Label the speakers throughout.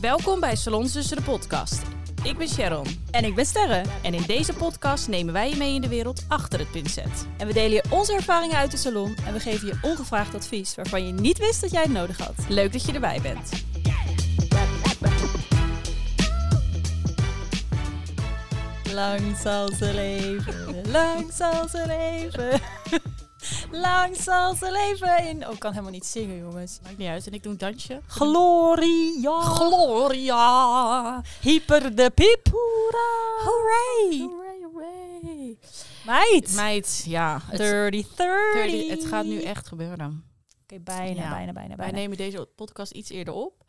Speaker 1: Welkom bij Salons Tussen de Podcast. Ik ben Sharon
Speaker 2: En ik ben Sterre.
Speaker 1: en in deze podcast nemen wij je mee in de wereld achter het pincet.
Speaker 2: En we delen je onze ervaringen uit de salon en we geven je ongevraagd advies waarvan je niet wist dat jij het nodig had.
Speaker 1: Leuk dat je erbij bent.
Speaker 2: Lang zal ze leven, lang zal ze leven, lang zal ze leven in... Oh, ik kan helemaal niet zingen, jongens.
Speaker 1: Maakt niet uit en ik doe een dansje.
Speaker 2: Gloria,
Speaker 1: Gloria!
Speaker 2: hyper de piep, hoera, hooray.
Speaker 1: Hooray, hooray.
Speaker 2: Meid,
Speaker 1: Meid, ja. Het,
Speaker 2: 30, 30.
Speaker 1: het gaat nu echt gebeuren.
Speaker 2: Oké, bijna,
Speaker 1: Ja.
Speaker 2: bijna, bijna,
Speaker 1: Wij
Speaker 2: bijna.
Speaker 1: nemen deze podcast iets eerder op.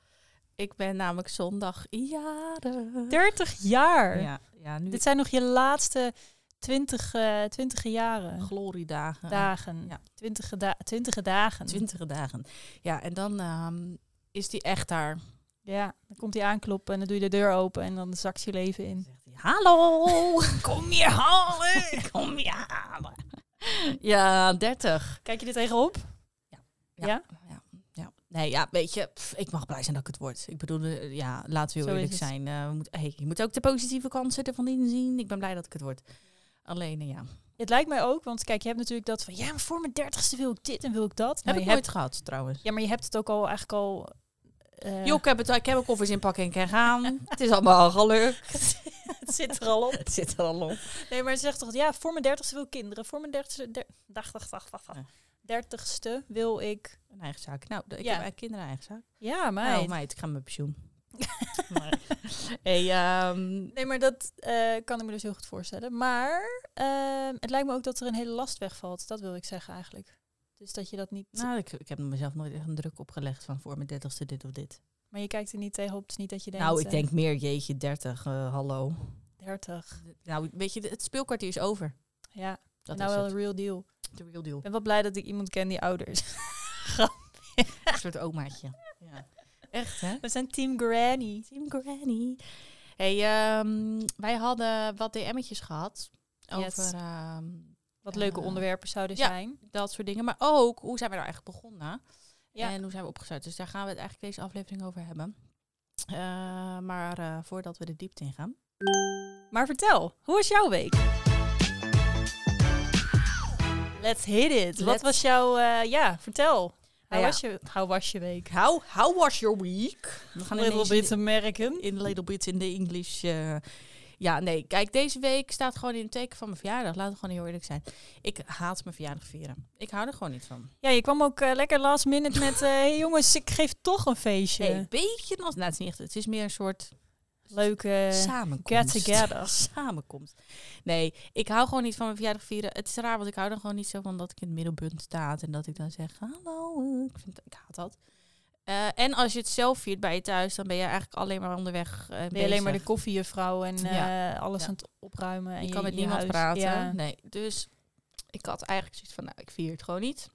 Speaker 1: Ik ben namelijk zondag jaren.
Speaker 2: 30 jaar.
Speaker 1: Ja, ja nu
Speaker 2: Dit zijn nog je laatste 20, eh, 20 jaren.
Speaker 1: gloriedagen.
Speaker 2: dagen.
Speaker 1: Ja.
Speaker 2: Twintige, da twintige dagen.
Speaker 1: Twintige dagen. Ja, en dan ehm, is die echt daar.
Speaker 2: Ja, dan komt hij aankloppen en dan doe je de deur open en dan zakt je leven in.
Speaker 1: Zegt hij, Hallo!
Speaker 2: Kom je halen!
Speaker 1: Kom je halen. Ja, 30.
Speaker 2: Kijk je er tegenop?
Speaker 1: Ja, ja. Nee, ja, weet je, pff, ik mag blij zijn dat ik het word. Ik bedoel, eh, ja, laten we heel
Speaker 2: Zo
Speaker 1: eerlijk
Speaker 2: is het.
Speaker 1: zijn. Eh, we moet, hey, je moet ook de positieve kanten ervan inzien. Ik ben blij dat ik het word. Alleen, eh, ja.
Speaker 2: Het lijkt mij ook, want kijk, je hebt natuurlijk dat van ja, maar voor mijn dertigste wil ik dit en wil ik dat. Maar
Speaker 1: Heb ik
Speaker 2: je
Speaker 1: nooit
Speaker 2: hebt,
Speaker 1: gehad, trouwens.
Speaker 2: ja, maar je hebt het ook al eigenlijk al. eh,
Speaker 1: Jo, ik heb, het, ik heb mijn koffers inpakken en kan gaan. het is allemaal al gelukt.
Speaker 2: het zit er al op.
Speaker 1: het zit er al op.
Speaker 2: Nee, maar ze zegt toch, ja, voor mijn dertigste wil ik kinderen. Voor mijn dertigste, der, dag, dag, dag, dag, dag.
Speaker 1: Ja.
Speaker 2: Dertigste wil ik.
Speaker 1: Een eigen zaak. Nou, ik
Speaker 2: Ja.
Speaker 1: heb mijn kinderen een eigen zaak.
Speaker 2: Ja, maar.
Speaker 1: Nou, meid, ik ga met pensioen. Maar- hey, ehm,
Speaker 2: Nee, maar dat eh, kan ik me dus heel goed voorstellen. Maar ehm, het lijkt me ook dat er een hele last wegvalt. Dat wil ik zeggen eigenlijk. Dus dat je dat niet.
Speaker 1: nou, ik, ik heb mezelf nooit echt een druk opgelegd van voor mijn dertigste dit of dit.
Speaker 2: Maar je kijkt er niet tegenop. Het is niet dat je denkt.
Speaker 1: nou, ik
Speaker 2: eh,
Speaker 1: denk meer, jeetje, dertig, eh, hallo.
Speaker 2: 30.
Speaker 1: Nou, weet je, het speelkwartier is over.
Speaker 2: Ja,
Speaker 1: Dat
Speaker 2: nou
Speaker 1: is
Speaker 2: wel
Speaker 1: het.
Speaker 2: een real deal.
Speaker 1: The real deal.
Speaker 2: Ik ben wel blij dat ik iemand ken die ouder is.
Speaker 1: Een soort omaatje. Ja. Echt, hè?
Speaker 2: We zijn Team Granny.
Speaker 1: Team Granny. hey, ehm, wij hadden wat DM'tjes gehad over
Speaker 2: Yes.
Speaker 1: ehm,
Speaker 2: Wat leuke
Speaker 1: Eh,
Speaker 2: onderwerpen zouden
Speaker 1: ja.
Speaker 2: zijn.
Speaker 1: dat soort dingen. Maar ook, hoe zijn we nou eigenlijk begonnen?
Speaker 2: Ja.
Speaker 1: En hoe zijn we opgestart? Dus daar gaan we het eigenlijk deze aflevering over hebben. Eh, maar eh, voordat we de diepte in gaan.
Speaker 2: Maar vertel, hoe was jouw week? Let's hit it. Wat
Speaker 1: Let's-
Speaker 2: was jouw. eh, ja, vertel. Hoe,
Speaker 1: Nou ja.
Speaker 2: was je, hoe was je week?
Speaker 1: How, how was your week? We gaan
Speaker 2: Little
Speaker 1: ineens in
Speaker 2: bit
Speaker 1: de-
Speaker 2: American.
Speaker 1: in Little Bits in de English. eh. ja, nee, kijk, deze week staat gewoon in het teken van mijn verjaardag. Laten we gewoon heel eerlijk zijn. Ik haat mijn verjaardag vieren. Ik hou er gewoon niet van.
Speaker 2: Ja, je kwam ook eh, lekker last minute met... eh, hey, jongens, ik geef toch een feestje.
Speaker 1: Hey, beetje nog. Nou, het is niet echt. Het is meer een soort eh,
Speaker 2: Leuke...
Speaker 1: samenkomst.
Speaker 2: get-together.
Speaker 1: Samenkomst. Nee, ik hou gewoon niet van mijn verjaardag vieren. Het is raar, want ik hou er gewoon niet zo van dat ik in het middelpunt staat en dat ik dan zeg: Hallo. eh." Ik, vind, ik haat dat. Eh, en als je het zelf viert bij je thuis, dan ben je eigenlijk alleen maar onderweg. eh,
Speaker 2: ben je alleen maar
Speaker 1: bezig.
Speaker 2: de koffiejuffrouw en eh, alles
Speaker 1: Ja.
Speaker 2: aan het opruimen. En
Speaker 1: je kan met
Speaker 2: je
Speaker 1: niemand
Speaker 2: huis.
Speaker 1: praten.
Speaker 2: Ja.
Speaker 1: Nee, dus ik had eigenlijk zoiets van, nou, ik vier het gewoon niet.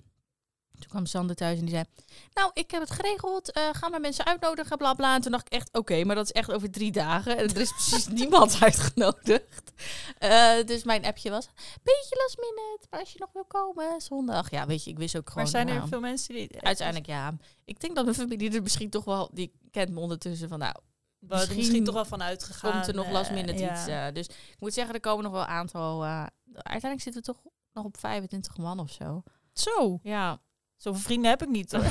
Speaker 1: Toen kwam Sander thuis en die zei, nou, ik heb het geregeld. eh, ga maar mensen uitnodigen, bla bla. En toen dacht ik echt, oké, maar dat is echt over drie dagen. En er is precies niemand uitgenodigd. Eh, dus mijn appje was, beetje last minute, maar als je nog wil komen, zondag. Ja, weet je, ik wist ook gewoon...
Speaker 2: Maar zijn er
Speaker 1: nou,
Speaker 2: veel mensen die...
Speaker 1: Uiteindelijk ja. Ik denk dat mijn familie er misschien toch wel, die kent me ondertussen van, nou,
Speaker 2: Waar er misschien
Speaker 1: misschien
Speaker 2: toch wel van uitgegaan.
Speaker 1: komt er nog last
Speaker 2: eh,
Speaker 1: minute
Speaker 2: ja.
Speaker 1: iets. eh, dus ik moet zeggen, er komen nog wel een aantal. eh, uiteindelijk zitten we toch nog op 25 man of zo.
Speaker 2: Zo,
Speaker 1: Ja,
Speaker 2: zoveel vrienden heb ik niet. hoor.
Speaker 1: Oh.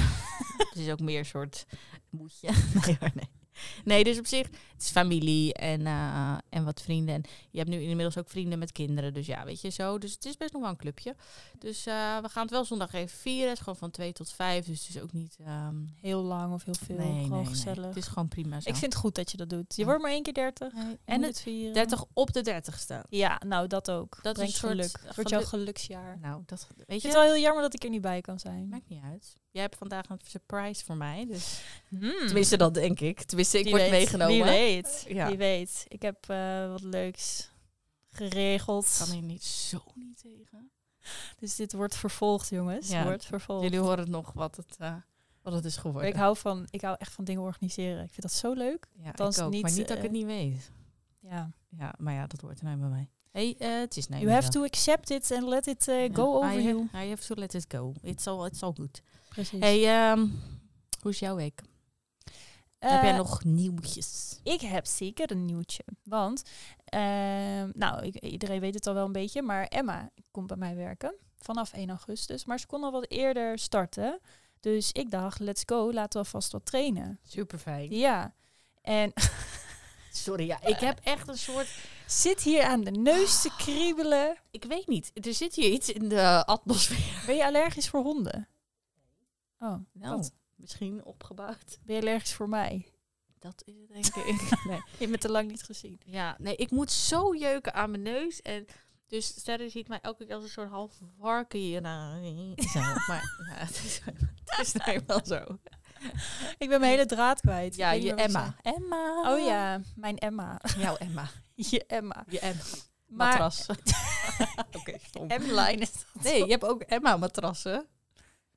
Speaker 1: Dus het is ook meer een soort moedje. Nee hoor, nee. Nee, dus op zich, het is familie en, eh, en wat vrienden. En je hebt nu inmiddels ook vrienden met kinderen. Dus ja, weet je zo. Dus het is best nog wel een clubje. Dus eh, we gaan het wel zondag even vieren. Het is gewoon van 2 tot 5. Dus het is ook niet. ehm,
Speaker 2: Heel lang of heel veel.
Speaker 1: nee, nee,
Speaker 2: gewoon
Speaker 1: nee.
Speaker 2: gezellig.
Speaker 1: Het is gewoon prima. Zo.
Speaker 2: Ik vind het goed dat je dat doet. Je
Speaker 1: Ja.
Speaker 2: wordt maar één keer dertig.
Speaker 1: en
Speaker 2: moet eh,
Speaker 1: het
Speaker 2: vieren.
Speaker 1: 30 op de 30ste.
Speaker 2: Ja, nou dat ook.
Speaker 1: Dat
Speaker 2: Dat
Speaker 1: is
Speaker 2: brengt
Speaker 1: een soort
Speaker 2: geluk. Het
Speaker 1: geluk-
Speaker 2: wordt jouw geluksjaar.
Speaker 1: Nou, dat
Speaker 2: Ik
Speaker 1: weet je.
Speaker 2: vind het wel heel jammer dat ik er niet bij kan zijn.
Speaker 1: Maakt niet uit. Jij hebt vandaag een surprise voor mij. Dus.
Speaker 2: Hmm.
Speaker 1: Tenminste, dat denk ik. Tenminste, ik
Speaker 2: Wie
Speaker 1: word
Speaker 2: weet,
Speaker 1: meegenomen.
Speaker 2: Wie weet,
Speaker 1: Ja.
Speaker 2: wie weet. Ik heb eh, wat leuks geregeld.
Speaker 1: Kan hier niet zo niet tegen.
Speaker 2: Dus dit wordt vervolgd, jongens.
Speaker 1: Ja.
Speaker 2: Wordt vervolgd.
Speaker 1: Jullie horen het nog wat het, eh, wat het is
Speaker 2: Maar
Speaker 1: geworden.
Speaker 2: ik hou, van, ik hou echt van dingen organiseren. Ik vind dat zo leuk.
Speaker 1: ja, ik
Speaker 2: althans
Speaker 1: ook,
Speaker 2: niet,
Speaker 1: maar niet dat ik
Speaker 2: eh,
Speaker 1: het niet weet.
Speaker 2: Ja.
Speaker 1: Ja, maar ja, dat hoort er nou bij mij. Hey, eh, het is nou
Speaker 2: you have to accept it and let it eh, go over
Speaker 1: I
Speaker 2: you.
Speaker 1: Have, I have to let it go. It's all, it's all good.
Speaker 2: Precies.
Speaker 1: Hey, ehm, hoe is jouw week? Heb jij
Speaker 2: Eh,
Speaker 1: nog nieuwtjes?
Speaker 2: Ik heb zeker een nieuwtje. Want, ehm, nou, ik- iedereen weet het al wel een beetje, maar Emma komt bij mij werken vanaf 1 augustus. Maar ze kon al wat eerder starten. Dus ik dacht, let's go, laten we alvast wat trainen.
Speaker 1: Super fijn.
Speaker 2: Ja. En
Speaker 1: Sorry, ja, ik heb echt een soort.
Speaker 2: zit hier aan de neus te kriebelen.
Speaker 1: Ik weet niet. Er zit hier iets in de atmosfeer.
Speaker 2: Ben je allergisch voor honden? Oh,
Speaker 1: Nou,
Speaker 2: wat?
Speaker 1: misschien opgebouwd.
Speaker 2: Ben je allergisch voor mij?
Speaker 1: Dat is het, denk ik. nee.
Speaker 2: Je hebt me te lang niet gezien.
Speaker 1: Ja, nee, ik moet zo jeuken aan mijn neus. En dus Sterre ziet mij elke keer als een soort half warken hierna. Zo, maar ja, het, is, het is nou wel zo.
Speaker 2: Ik ben mijn hele draad kwijt.
Speaker 1: Ja,
Speaker 2: Ik weet
Speaker 1: je
Speaker 2: niet meer wat
Speaker 1: Emma. Emma.
Speaker 2: ik zei. Oh ja, mijn Emma.
Speaker 1: Jouw Emma.
Speaker 2: Je Emma.
Speaker 1: Je Emma.
Speaker 2: Maar
Speaker 1: Matras. Oké, stom.
Speaker 2: M-line is dat
Speaker 1: Nee, je hebt ook Emma-matrassen.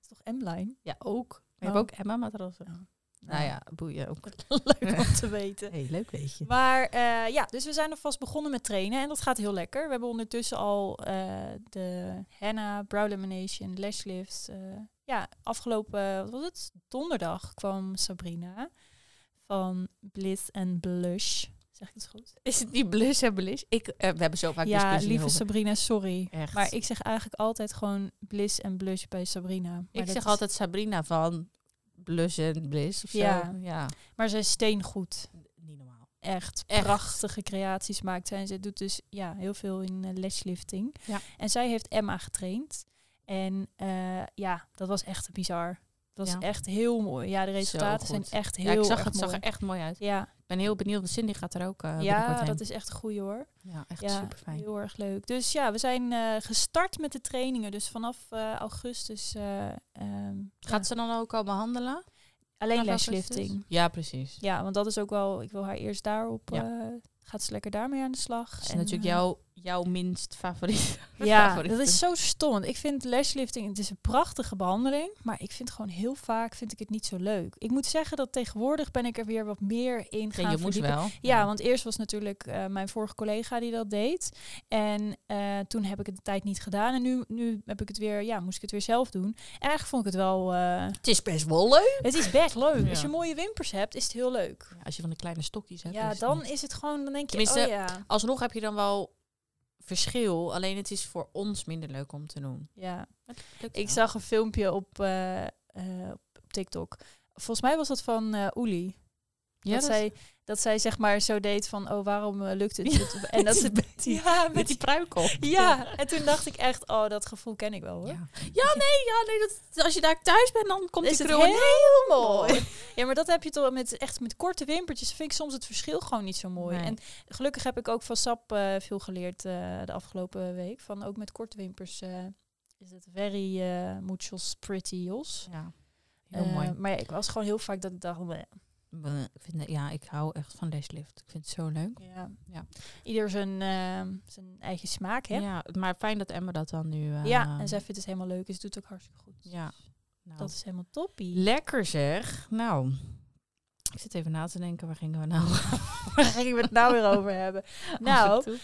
Speaker 2: is toch M-line?
Speaker 1: Ja, ook. We
Speaker 2: Oh.
Speaker 1: hebben ook Emma-matrassen.
Speaker 2: Oh.
Speaker 1: Nou ja, boeien ook.
Speaker 2: leuk om te weten.
Speaker 1: Hey, leuk weet je.
Speaker 2: Maar eh, ja, dus we zijn alvast begonnen met trainen en dat gaat heel lekker. We hebben ondertussen al eh, de henna, brow lamination, lash lifts. eh, ja, afgelopen, wat was het? Donderdag kwam Sabrina van Bliss and Blush. Zeg ik het goed?
Speaker 1: Is het niet blus en belis? Ik, eh, we hebben zo vaak
Speaker 2: ja,
Speaker 1: discussie
Speaker 2: lieve
Speaker 1: over.
Speaker 2: Sabrina, sorry.
Speaker 1: Echt.
Speaker 2: Maar ik zeg eigenlijk altijd gewoon Bliss and Blush bij Sabrina. Maar
Speaker 1: Ik
Speaker 2: dat
Speaker 1: zeg
Speaker 2: is-
Speaker 1: altijd Sabrina van blus en blis of zo.
Speaker 2: Ja.
Speaker 1: ja.
Speaker 2: Maar zij is steengoed.
Speaker 1: Niet normaal.
Speaker 2: echt,
Speaker 1: Echt.
Speaker 2: prachtige creaties maakt. En ze doet dus ja, heel veel in eh, lashlifting.
Speaker 1: Ja.
Speaker 2: En zij heeft Emma getraind. En eh, ja, dat was echt bizar. Dat was
Speaker 1: Ja.
Speaker 2: echt heel mooi. Ja, de resultaten
Speaker 1: goed.
Speaker 2: zijn echt
Speaker 1: Ja,
Speaker 2: heel
Speaker 1: ik zag
Speaker 2: erg
Speaker 1: het zag
Speaker 2: mooi.
Speaker 1: er echt mooi uit.
Speaker 2: Ja,
Speaker 1: Ik ben heel benieuwd, want Cindy gaat er ook eh
Speaker 2: ja
Speaker 1: binnenkort
Speaker 2: dat
Speaker 1: heen.
Speaker 2: is echt een goeie hoor.
Speaker 1: Ja, echt
Speaker 2: ja,
Speaker 1: super fijn.
Speaker 2: Heel erg leuk. Dus ja, we zijn eh, gestart met de trainingen. Dus vanaf eh, augustus eh, ehm,
Speaker 1: Gaat
Speaker 2: ja,
Speaker 1: ze dan ook al behandelen?
Speaker 2: alleen
Speaker 1: Vanaf augustus?
Speaker 2: lashlifting.
Speaker 1: Ja, precies.
Speaker 2: Ja, want dat is ook wel... Ik wil haar eerst daarop...
Speaker 1: Ja.
Speaker 2: eh, gaat ze lekker daarmee aan de slag.
Speaker 1: Dat is
Speaker 2: En,
Speaker 1: natuurlijk
Speaker 2: eh,
Speaker 1: jouw, jouw minst favoriet.
Speaker 2: Ja,
Speaker 1: favoriete.
Speaker 2: dat is zo stom. want Ik vind lashlifting, het is een prachtige behandeling, maar ik vind gewoon heel vaak vind ik het niet zo leuk. Ik moet zeggen dat tegenwoordig ben ik er weer wat meer in gaan
Speaker 1: Ja, je moest
Speaker 2: verdiepen.
Speaker 1: wel.
Speaker 2: Ja, want eerst was natuurlijk eh, mijn vorige collega die dat deed. En eh, toen heb ik het de tijd niet gedaan. En nu, nu heb ik het weer, ja, moest ik het weer zelf doen. Eigenlijk vond ik het wel. eh,
Speaker 1: Het is best wel leuk.
Speaker 2: het is best leuk.
Speaker 1: Ja.
Speaker 2: Als je mooie wimpers hebt, is het heel leuk.
Speaker 1: Als je van de kleine stokjes hebt.
Speaker 2: Ja,
Speaker 1: is het
Speaker 2: dan
Speaker 1: niet.
Speaker 2: is het gewoon, dan denk je,
Speaker 1: Tenminste,
Speaker 2: oh ja.
Speaker 1: Alsnog heb je dan wel verschil. Alleen het is voor ons minder leuk om te doen.
Speaker 2: ja.
Speaker 1: Lukt
Speaker 2: Ik
Speaker 1: wel.
Speaker 2: zag een filmpje op, eh, eh, op TikTok. Volgens mij was dat van eh Uli.
Speaker 1: ja,
Speaker 2: dat,
Speaker 1: dat
Speaker 2: zij, dat zij zeg maar zo deed van, oh waarom eh, lukt het
Speaker 1: Ja,
Speaker 2: niet? en dat ze,
Speaker 1: met die-
Speaker 2: ja,
Speaker 1: met die pruik op.
Speaker 2: ja, en toen dacht ik echt, oh dat gevoel ken ik wel hoor.
Speaker 1: Ja. Ja, nee, ja, nee dat, als je daar thuis bent, dan komt
Speaker 2: Is
Speaker 1: die
Speaker 2: het
Speaker 1: krul ineens-
Speaker 2: heel
Speaker 1: mooi.
Speaker 2: mooi. Ja, maar dat heb je toch met, echt met korte wimpertjes. Vind ik soms het verschil gewoon niet zo mooi.
Speaker 1: Nee.
Speaker 2: En gelukkig heb ik ook van Sap eh, veel geleerd eh, de afgelopen week. Van ook met korte wimpers eh, is het very eh muchos prettyos.
Speaker 1: Ja, heel mooi.
Speaker 2: Eh, maar ja, ik was gewoon heel vaak dat ik dacht, bleh.
Speaker 1: Bleh, Ik vind, het- ja, ik hou echt van leslift. Ik vind het zo leuk.
Speaker 2: ja.
Speaker 1: Ja.
Speaker 2: ieder zijn, ehm, zijn eigen smaak, hè? Ja,
Speaker 1: Ja, maar fijn dat Emma dat dan nu... eh,
Speaker 2: en zij vindt het helemaal leuk, dus het doet ook hartstikke goed. Dus
Speaker 1: Ja. nou,
Speaker 2: Dat is helemaal toppie.
Speaker 1: Lekker zeg. Nou, ik zit even na te denken, waar gingen we nou
Speaker 2: Waar gingen we het nou weer over hebben? Nou,
Speaker 1: toe?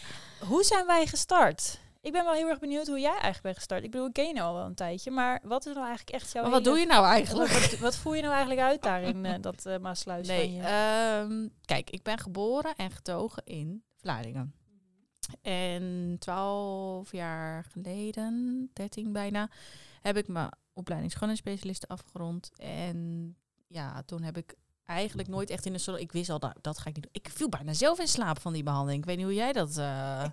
Speaker 2: hoe zijn wij gestart? Ik ben wel heel erg benieuwd hoe jij eigenlijk bent gestart. Ik bedoel, ik ken je nou al wel een tijdje, maar wat is nou eigenlijk echt jouw...
Speaker 1: Maar wat doe je nou eigenlijk?
Speaker 2: Wat, wat, wat voel je nou eigenlijk uit daar in eh, dat eh Maasluis
Speaker 1: Nee,
Speaker 2: van je?
Speaker 1: ehm, kijk, ik ben geboren en getogen in Vlaardingen. En twaalf jaar geleden, dertien bijna, heb ik mijn opleiding schoonheidsspecialisten afgerond. En ja, toen heb ik eigenlijk nooit echt in een salon... Ik wist al, dat, dat ga ik niet doen. Ik viel bijna zelf in slaap van die behandeling. Ik weet niet hoe jij dat... eh,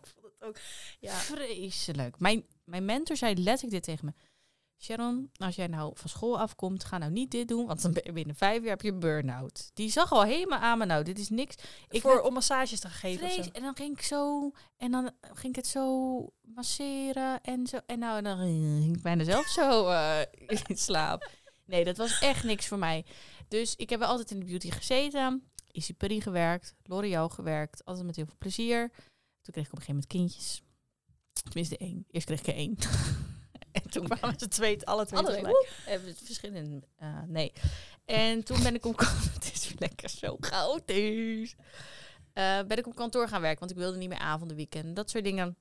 Speaker 2: ja.
Speaker 1: Vreselijk. Mijn, mijn mentor zei letterlijk dit tegen me. Sharon, als jij nou van school afkomt, ga nou niet dit doen, want dan ben je binnen vijf jaar heb je een burn-out. Die zag al helemaal aan me, nou, dit is niks. Ik
Speaker 2: Voor,
Speaker 1: werd
Speaker 2: om massages te geven of zo.
Speaker 1: vrees, en dan ging ik zo, en dan ging ik het zo masseren en zo. En nou, en dan ging ik bijna zelf zo eh, in slaap. Nee, dat was echt niks voor mij. Dus ik heb wel altijd in de beauty gezeten. Issy Paris gewerkt, L'Oreal gewerkt, altijd met heel veel plezier. Toen kreeg ik op een gegeven moment kindjes. Tenminste één. Eerst kreeg ik er één. en toen kwamen
Speaker 2: ze twee, alle twee
Speaker 1: alle
Speaker 2: tegelijk.
Speaker 1: twee. Hebben het verschillende. eh, nee. En toen ben ik om kantoor. het is weer lekker zo chaotisch. Eh, ben ik op kantoor gaan werken, want ik wilde niet meer avonden, weekenden, dat soort dingen.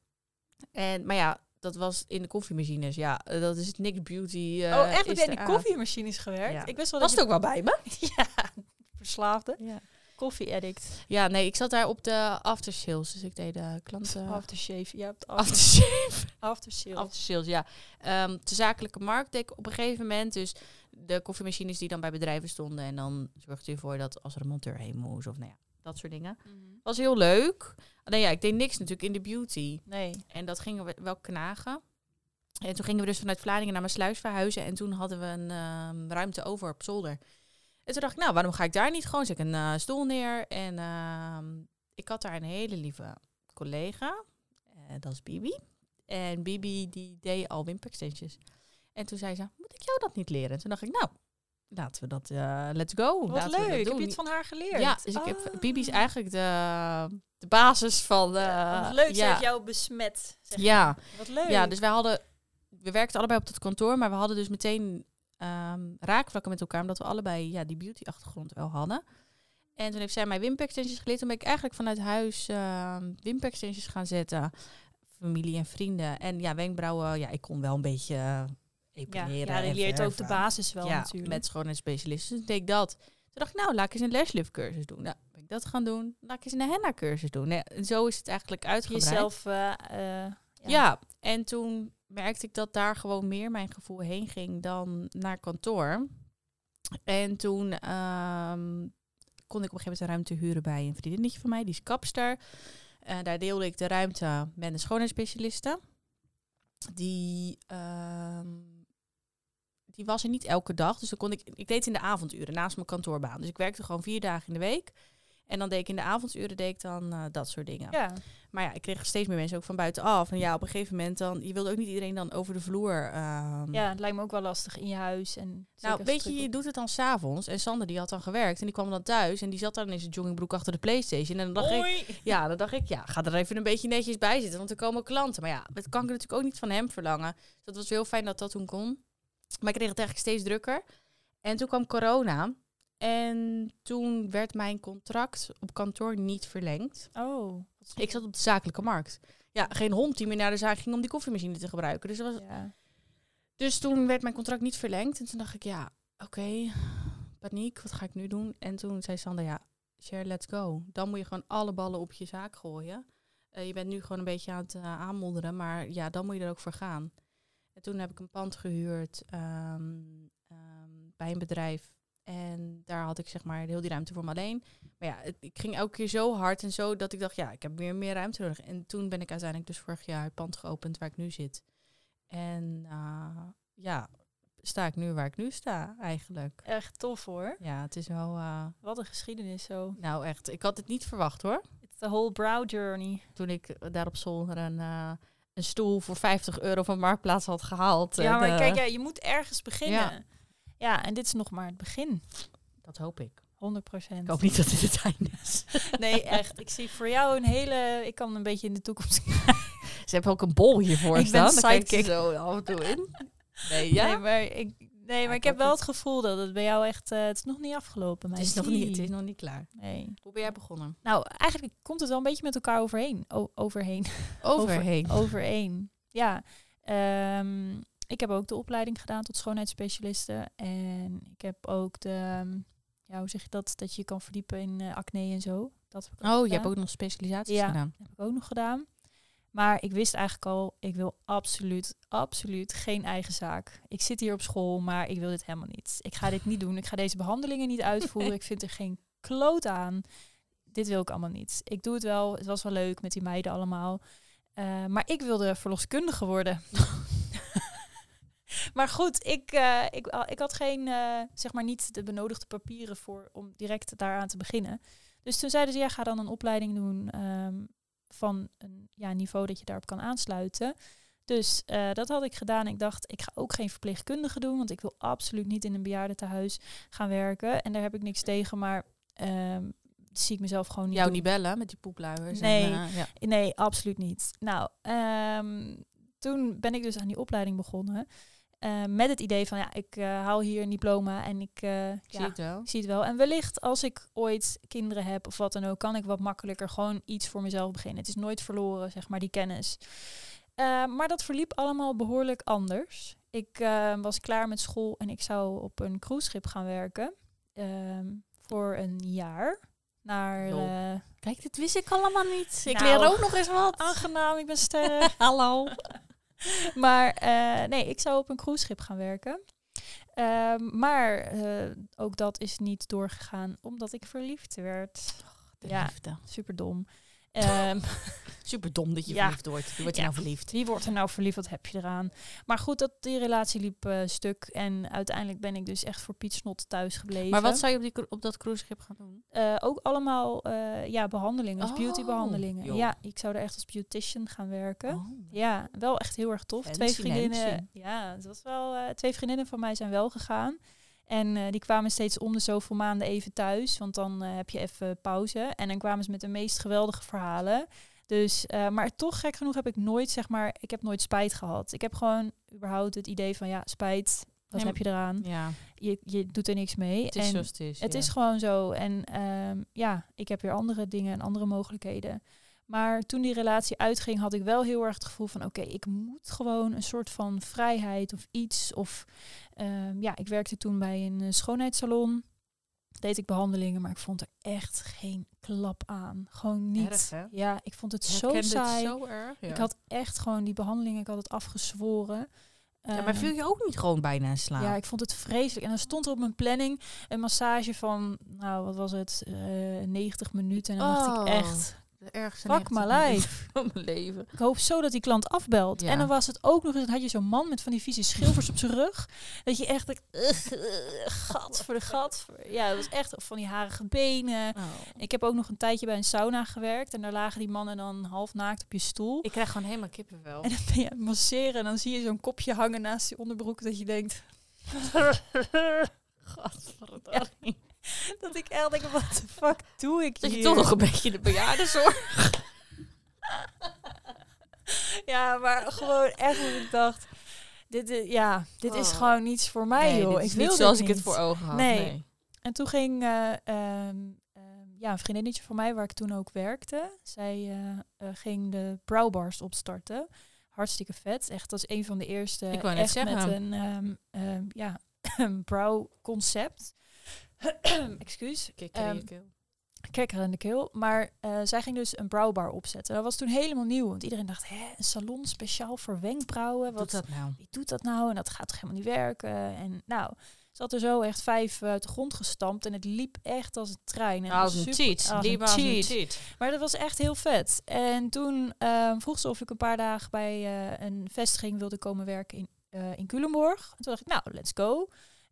Speaker 1: En, maar ja, dat was in de koffiemachines. Ja, eh, dat is het niks beauty. eh,
Speaker 2: Oh, echt? Heb
Speaker 1: is
Speaker 2: jij
Speaker 1: er
Speaker 2: in die
Speaker 1: aan.
Speaker 2: koffiemachines gewerkt?
Speaker 1: Ja.
Speaker 2: Ik wist wel dat
Speaker 1: Was het ook wel bij me?
Speaker 2: Ja, koffieverslaafde,
Speaker 1: Ja.
Speaker 2: koffie-addict,
Speaker 1: ja, nee, ik zat daar op de aftersales. Dus ik deed de klanten...
Speaker 2: aftershave. Je hebt after,
Speaker 1: aftersales.
Speaker 2: aftershave.
Speaker 1: After sales, ja. Ehm, de zakelijke markt deed ik op een gegeven moment. Dus de koffiemachines die dan bij bedrijven stonden. En dan zorgde je ervoor dat als er een monteur heen moest of nou ja, dat soort dingen.
Speaker 2: Mhm.
Speaker 1: Was heel leuk. Alleen ja, ik deed niks natuurlijk in de beauty.
Speaker 2: Nee.
Speaker 1: En dat gingen we wel knagen. En toen gingen we dus vanuit Vlaardingen naar mijn sluis verhuizen. En toen hadden we een ehm, ruimte over op zolder. En toen dacht ik, nou, waarom ga ik daar niet gewoon? Zet ik een eh, stoel neer. En ehm, ik had daar een hele lieve collega. Eh, dat is Bibi. En Bibi die deed al wimperextensions. En toen zei ze, moet ik jou dat niet leren? En toen dacht ik, nou, laten we dat, eh, let's go.
Speaker 2: Wat
Speaker 1: laten we dat
Speaker 2: leuk. Heb
Speaker 1: doen.
Speaker 2: je het van haar geleerd?
Speaker 1: Ja, dus ik heb,
Speaker 2: Ah.
Speaker 1: Bibi is eigenlijk de, de basis van... De,
Speaker 2: Eh, Ja, Oh, wat leuk, ze
Speaker 1: ja.
Speaker 2: heeft jou besmet. zeg
Speaker 1: Ja.
Speaker 2: je. Wat leuk.
Speaker 1: Ja, dus wij hadden, we werkten allebei op het kantoor, maar we hadden dus meteen ehm, raakvlakken met elkaar, omdat we allebei ja, die beauty-achtergrond wel hadden. En toen heeft zij mij wimperextensions geleerd. Toen ben ik eigenlijk vanuit huis ehm wimperextensions gaan zetten. Familie en vrienden. En ja, wenkbrauwen, ja, ik kon wel een beetje eh,
Speaker 2: ja,
Speaker 1: epileren.
Speaker 2: ja, die
Speaker 1: en
Speaker 2: leert ook de
Speaker 1: verven.
Speaker 2: basis wel
Speaker 1: ja,
Speaker 2: natuurlijk.
Speaker 1: met schoonheidsspecialisten. Dus toen deed ik dat. Toen dacht ik, nou, laat ik eens een lash cursus doen. Nou, ben ik dat gaan doen. Laat ik eens een henna cursus doen. Nee, en zo is het eigenlijk uitgebreid.
Speaker 2: jezelf. eh, eh,
Speaker 1: Ja. en toen merkte ik dat daar gewoon meer mijn gevoel heen ging dan naar kantoor. En toen ehm, kon ik op een gegeven moment een ruimte huren bij een vriendinnetje van mij, die is kapster. Eh, daar deelde ik de ruimte met een schoonheidsspecialiste. Die, ehm, die was er niet elke dag. Dus dan kon ik, ik deed het in de avonduren naast mijn kantoorbaan. Dus ik werkte gewoon vier dagen in de week. En dan deed ik in de avonduren deed ik dan eh, dat soort dingen.
Speaker 2: ja.
Speaker 1: Maar ja, ik kreeg steeds meer mensen ook van buitenaf. En ja, op een gegeven moment dan... Je wilde ook niet iedereen dan over de vloer. ehm.
Speaker 2: ja, het lijkt me ook wel lastig in je huis. En zeker
Speaker 1: Nou,
Speaker 2: als
Speaker 1: weet
Speaker 2: druk
Speaker 1: je, je
Speaker 2: op-
Speaker 1: doet het dan s'avonds. En Sander die had dan gewerkt. En die kwam dan thuis. En die zat dan in zijn joggingbroek achter de Playstation. En dan dacht ik...
Speaker 2: Oei.
Speaker 1: Ja, dan dacht ik, ja, ga er even een beetje netjes bij zitten. Want er komen klanten. Maar ja, dat kan ik natuurlijk ook niet van hem verlangen. Dus dat was heel fijn dat dat toen kon. Maar ik kreeg het eigenlijk steeds drukker. En toen kwam corona. En toen werd mijn contract op kantoor niet verlengd.
Speaker 2: Oh.
Speaker 1: Ik zat op de zakelijke markt. Ja, geen hond die meer naar de zaak ging om die koffiemachine te gebruiken. Dus, dat was...
Speaker 2: Ja.
Speaker 1: dus toen werd mijn contract niet verlengd. En toen dacht ik, ja, oké, paniek, wat ga ik nu doen? En toen zei Sander, ja, share, let's go. Dan moet je gewoon alle ballen op je zaak gooien. Eh, je bent nu gewoon een beetje aan het eh, aanmodderen, maar ja, dan moet je er ook voor gaan. En toen heb ik een pand gehuurd ehm, ehm, bij een bedrijf. En daar had ik zeg maar heel die ruimte voor me alleen. Maar ja, het- ik ging elke keer zo hard en zo dat ik dacht, ja, ik heb meer, meer ruimte nodig. En toen ben ik uiteindelijk dus vorig jaar het pand geopend waar ik nu zit. En eh, ja, sta ik nu waar ik nu sta eigenlijk.
Speaker 2: Echt tof hoor.
Speaker 1: Ja, het is wel, eh,
Speaker 2: Wat een geschiedenis zo.
Speaker 1: nou echt, ik had het niet verwacht hoor.
Speaker 2: It's the whole brow journey.
Speaker 1: Toen ik daar op zolder een, eh, een stoel voor 50 euro van Marktplaats had gehaald.
Speaker 2: ja,
Speaker 1: eh,
Speaker 2: maar
Speaker 1: de-
Speaker 2: kijk, ja, je moet ergens beginnen. Ja. en dit is nog maar het begin.
Speaker 1: Dat hoop ik.
Speaker 2: 100
Speaker 1: Ik hoop niet dat dit het einde is.
Speaker 2: Nee, echt. Ik zie voor jou een hele... Ik kan een beetje in de toekomst
Speaker 1: Ze hebben ook een bol hiervoor
Speaker 2: Ik ben
Speaker 1: staan. Dan kijkt ze
Speaker 2: sidekick.
Speaker 1: zo af en toe in. Nee, ja.
Speaker 2: Nee, maar ik, nee, maar
Speaker 1: ik
Speaker 2: ik heb
Speaker 1: ook
Speaker 2: wel
Speaker 1: niet.
Speaker 2: het gevoel dat het bij jou echt... eh, het is nog niet afgelopen,
Speaker 1: het, is nog
Speaker 2: meisje.
Speaker 1: niet, het is nog niet klaar.
Speaker 2: Nee.
Speaker 1: Hoe ben jij begonnen?
Speaker 2: Nou, eigenlijk komt het wel een beetje met elkaar overheen. O- overheen.
Speaker 1: Overheen.
Speaker 2: overeen. Ja. Ehm, ik heb ook de opleiding gedaan tot schoonheidsspecialiste. En ik heb ook de... ehm, Ja, hoe zeg je dat? Dat je je kan verdiepen in eh, acne en zo. Dat heb ik
Speaker 1: Oh, je
Speaker 2: gedaan.
Speaker 1: hebt ook nog specialisaties
Speaker 2: Ja.
Speaker 1: gedaan.
Speaker 2: heb ik ook nog gedaan. Maar ik wist eigenlijk al, ik wil absoluut, absoluut geen eigen zaak. Ik zit hier op school, maar ik wil dit helemaal niet. Ik ga dit niet doen. Ik ga deze behandelingen niet uitvoeren. Ik vind er geen kloot aan. Dit wil ik allemaal niet. Ik doe het wel. Het was wel leuk met die meiden allemaal. Eh, maar ik wilde verloskundige worden. maar goed, ik, eh, ik, ik had geen, eh, zeg maar niet de benodigde papieren voor om direct daaraan te beginnen. Dus toen zeiden ze, ja, ga dan een opleiding doen ehm, van een ja, niveau dat je daarop kan aansluiten. Dus eh, dat had ik gedaan. Ik dacht, ik ga ook geen verpleegkundige doen, want ik wil absoluut niet in een bejaardentehuis gaan werken. En daar heb ik niks tegen, maar ehm, zie ik mezelf gewoon niet
Speaker 1: Jou
Speaker 2: doen.
Speaker 1: niet bellen met die poepluiers.
Speaker 2: Nee.
Speaker 1: En, eh, ja.
Speaker 2: Nee, absoluut niet. Nou, ehm, toen ben ik dus aan die opleiding begonnen. eh, met het idee van, ja, ik eh, haal hier een diploma en ik, eh,
Speaker 1: Ik
Speaker 2: ja,
Speaker 1: zie het wel.
Speaker 2: ik zie het wel. En wellicht als ik ooit kinderen heb of wat dan ook, kan ik wat makkelijker gewoon iets voor mezelf beginnen. Het is nooit verloren, zeg maar, die kennis. Eh, maar dat verliep allemaal behoorlijk anders. Ik eh, was klaar met school en ik zou op een cruiseschip gaan werken. ehm, voor een jaar naar...
Speaker 1: Joh.
Speaker 2: eh,
Speaker 1: Kijk, dit wist ik allemaal niet. Ik
Speaker 2: Nou.
Speaker 1: leer ook nog eens wat.
Speaker 2: aangenaam, ik ben sterk.
Speaker 1: Hallo.
Speaker 2: maar eh, nee, ik zou op een cruiseschip gaan werken. Ehm, maar eh, ook dat is niet doorgegaan, omdat ik verliefd werd. Ja. Super dom.
Speaker 1: Super dom dat je
Speaker 2: Ja.
Speaker 1: verliefd wordt. Je wordt
Speaker 2: Ja.
Speaker 1: nou verliefd.
Speaker 2: wie wordt er nou verliefd? Wat heb je eraan? Maar goed, dat, die relatie liep eh, stuk. En uiteindelijk ben ik dus echt voor Piet Snot thuis gebleven.
Speaker 1: Maar wat zou je op, die, cru- op dat cruiseschip gaan doen?
Speaker 2: Eh, ook allemaal eh, ja, behandelingen, dus
Speaker 1: Oh,
Speaker 2: beautybehandelingen.
Speaker 1: joh.
Speaker 2: Ja, ik zou er echt als beautician gaan werken.
Speaker 1: Oh.
Speaker 2: Ja, wel echt heel erg tof.
Speaker 1: Fancy,
Speaker 2: twee vriendinnen.
Speaker 1: fancy.
Speaker 2: Ja, het was wel. eh, twee vriendinnen van mij zijn wel gegaan. En eh, die kwamen steeds om de zoveel maanden even thuis. Want dan eh, heb je even pauze. En dan kwamen ze met de meest geweldige verhalen. Dus, eh, maar toch gek genoeg heb ik nooit, zeg maar, ik heb nooit spijt gehad. Ik heb gewoon überhaupt het idee van ja, spijt. Wat
Speaker 1: Nee,
Speaker 2: heb je eraan?
Speaker 1: Ja,
Speaker 2: Je, je doet er niks mee.
Speaker 1: het is
Speaker 2: en
Speaker 1: zoals het is.
Speaker 2: het
Speaker 1: ja.
Speaker 2: is gewoon zo. En ehm, ja, ik heb weer andere dingen en andere mogelijkheden. Maar toen die relatie uitging, had ik wel heel erg het gevoel van... oké, ik moet gewoon een soort van vrijheid of iets. Of ehm, ja, ik werkte toen bij een eh, schoonheidssalon. Deed ik behandelingen, maar ik vond er echt geen klap aan. Gewoon niet.
Speaker 1: Erg, hè?
Speaker 2: Ja, ik vond het zo
Speaker 1: Herkende het
Speaker 2: saai.
Speaker 1: zo erg. Ja.
Speaker 2: Ik had echt gewoon die behandelingen, ik had het afgezworen.
Speaker 1: ja, maar
Speaker 2: Ehm,
Speaker 1: viel je ook niet gewoon bijna in slaap?
Speaker 2: ja, ik vond het vreselijk. En dan stond er op mijn planning een massage van, nou, wat was het, eh, 90 minuten. En dan dacht ik
Speaker 1: Oh.
Speaker 2: echt,
Speaker 1: De ergste
Speaker 2: fuck my
Speaker 1: negatieve
Speaker 2: life.
Speaker 1: van mijn leven.
Speaker 2: Ik hoop zo dat die klant afbelt.
Speaker 1: Ja.
Speaker 2: En dan was het ook nog eens, dan had je zo'n man met van die vieze schilfers op zijn rug. Dat je echt, dacht, ugh, ugh, gat voor de gat. Ja, het was echt van die harige benen. Ik heb ook nog een tijdje bij een sauna gewerkt. En daar lagen die mannen dan half naakt op je stoel.
Speaker 1: Ik krijg gewoon helemaal kippenvel.
Speaker 2: En dan ben je aan het masseren en dan zie je zo'n kopje hangen naast je onderbroek. Dat je denkt,
Speaker 1: Gadverdamme.
Speaker 2: dat ik echt denk, wat de fuck doe ik
Speaker 1: Dat
Speaker 2: hier?
Speaker 1: je toch nog een beetje de bejaardenzorg.
Speaker 2: Ja, maar gewoon echt wat ik dacht. Dit, dit- ja, dit is
Speaker 1: Oh.
Speaker 2: gewoon niets voor mij,
Speaker 1: Nee,
Speaker 2: joh.
Speaker 1: dit is
Speaker 2: ik wil
Speaker 1: niet
Speaker 2: dit
Speaker 1: zoals ik het
Speaker 2: niet.
Speaker 1: voor ogen had.
Speaker 2: Nee.
Speaker 1: Nee.
Speaker 2: En toen ging eh, ehm, ehm, ja, een vriendinnetje van mij, waar ik toen ook werkte, zij eh, eh, ging de Browbars opstarten. Hartstikke vet. Echt, dat is een van de eerste.
Speaker 1: Ik wou net
Speaker 2: echt Met
Speaker 1: zeggen.
Speaker 2: een ehm, ehm, ja, brouwconcept. Excuus.
Speaker 1: Kikker in je keel.
Speaker 2: Kekker aan de keel. Maar eh, zij ging dus een brouwbar opzetten. Dat was toen helemaal nieuw. Want iedereen dacht, hè, een salon speciaal voor wenkbrauwen.
Speaker 1: Wat
Speaker 2: Wat,
Speaker 1: is dat nou?
Speaker 2: Wie doet dat nou? En dat gaat toch helemaal niet werken? En nou, ze had er zo echt vijf eh, uit de grond gestampt. En het liep echt als een trein. En het
Speaker 1: Als
Speaker 2: was
Speaker 1: een
Speaker 2: super-
Speaker 1: cheat.
Speaker 2: als een
Speaker 1: Die was een
Speaker 2: cheat.
Speaker 1: cheat.
Speaker 2: Maar dat was echt heel vet. En toen eh, vroeg ze of ik een paar dagen bij eh, een vestiging wilde komen werken in, eh, in Culemborg. En toen dacht ik, nou, let's go.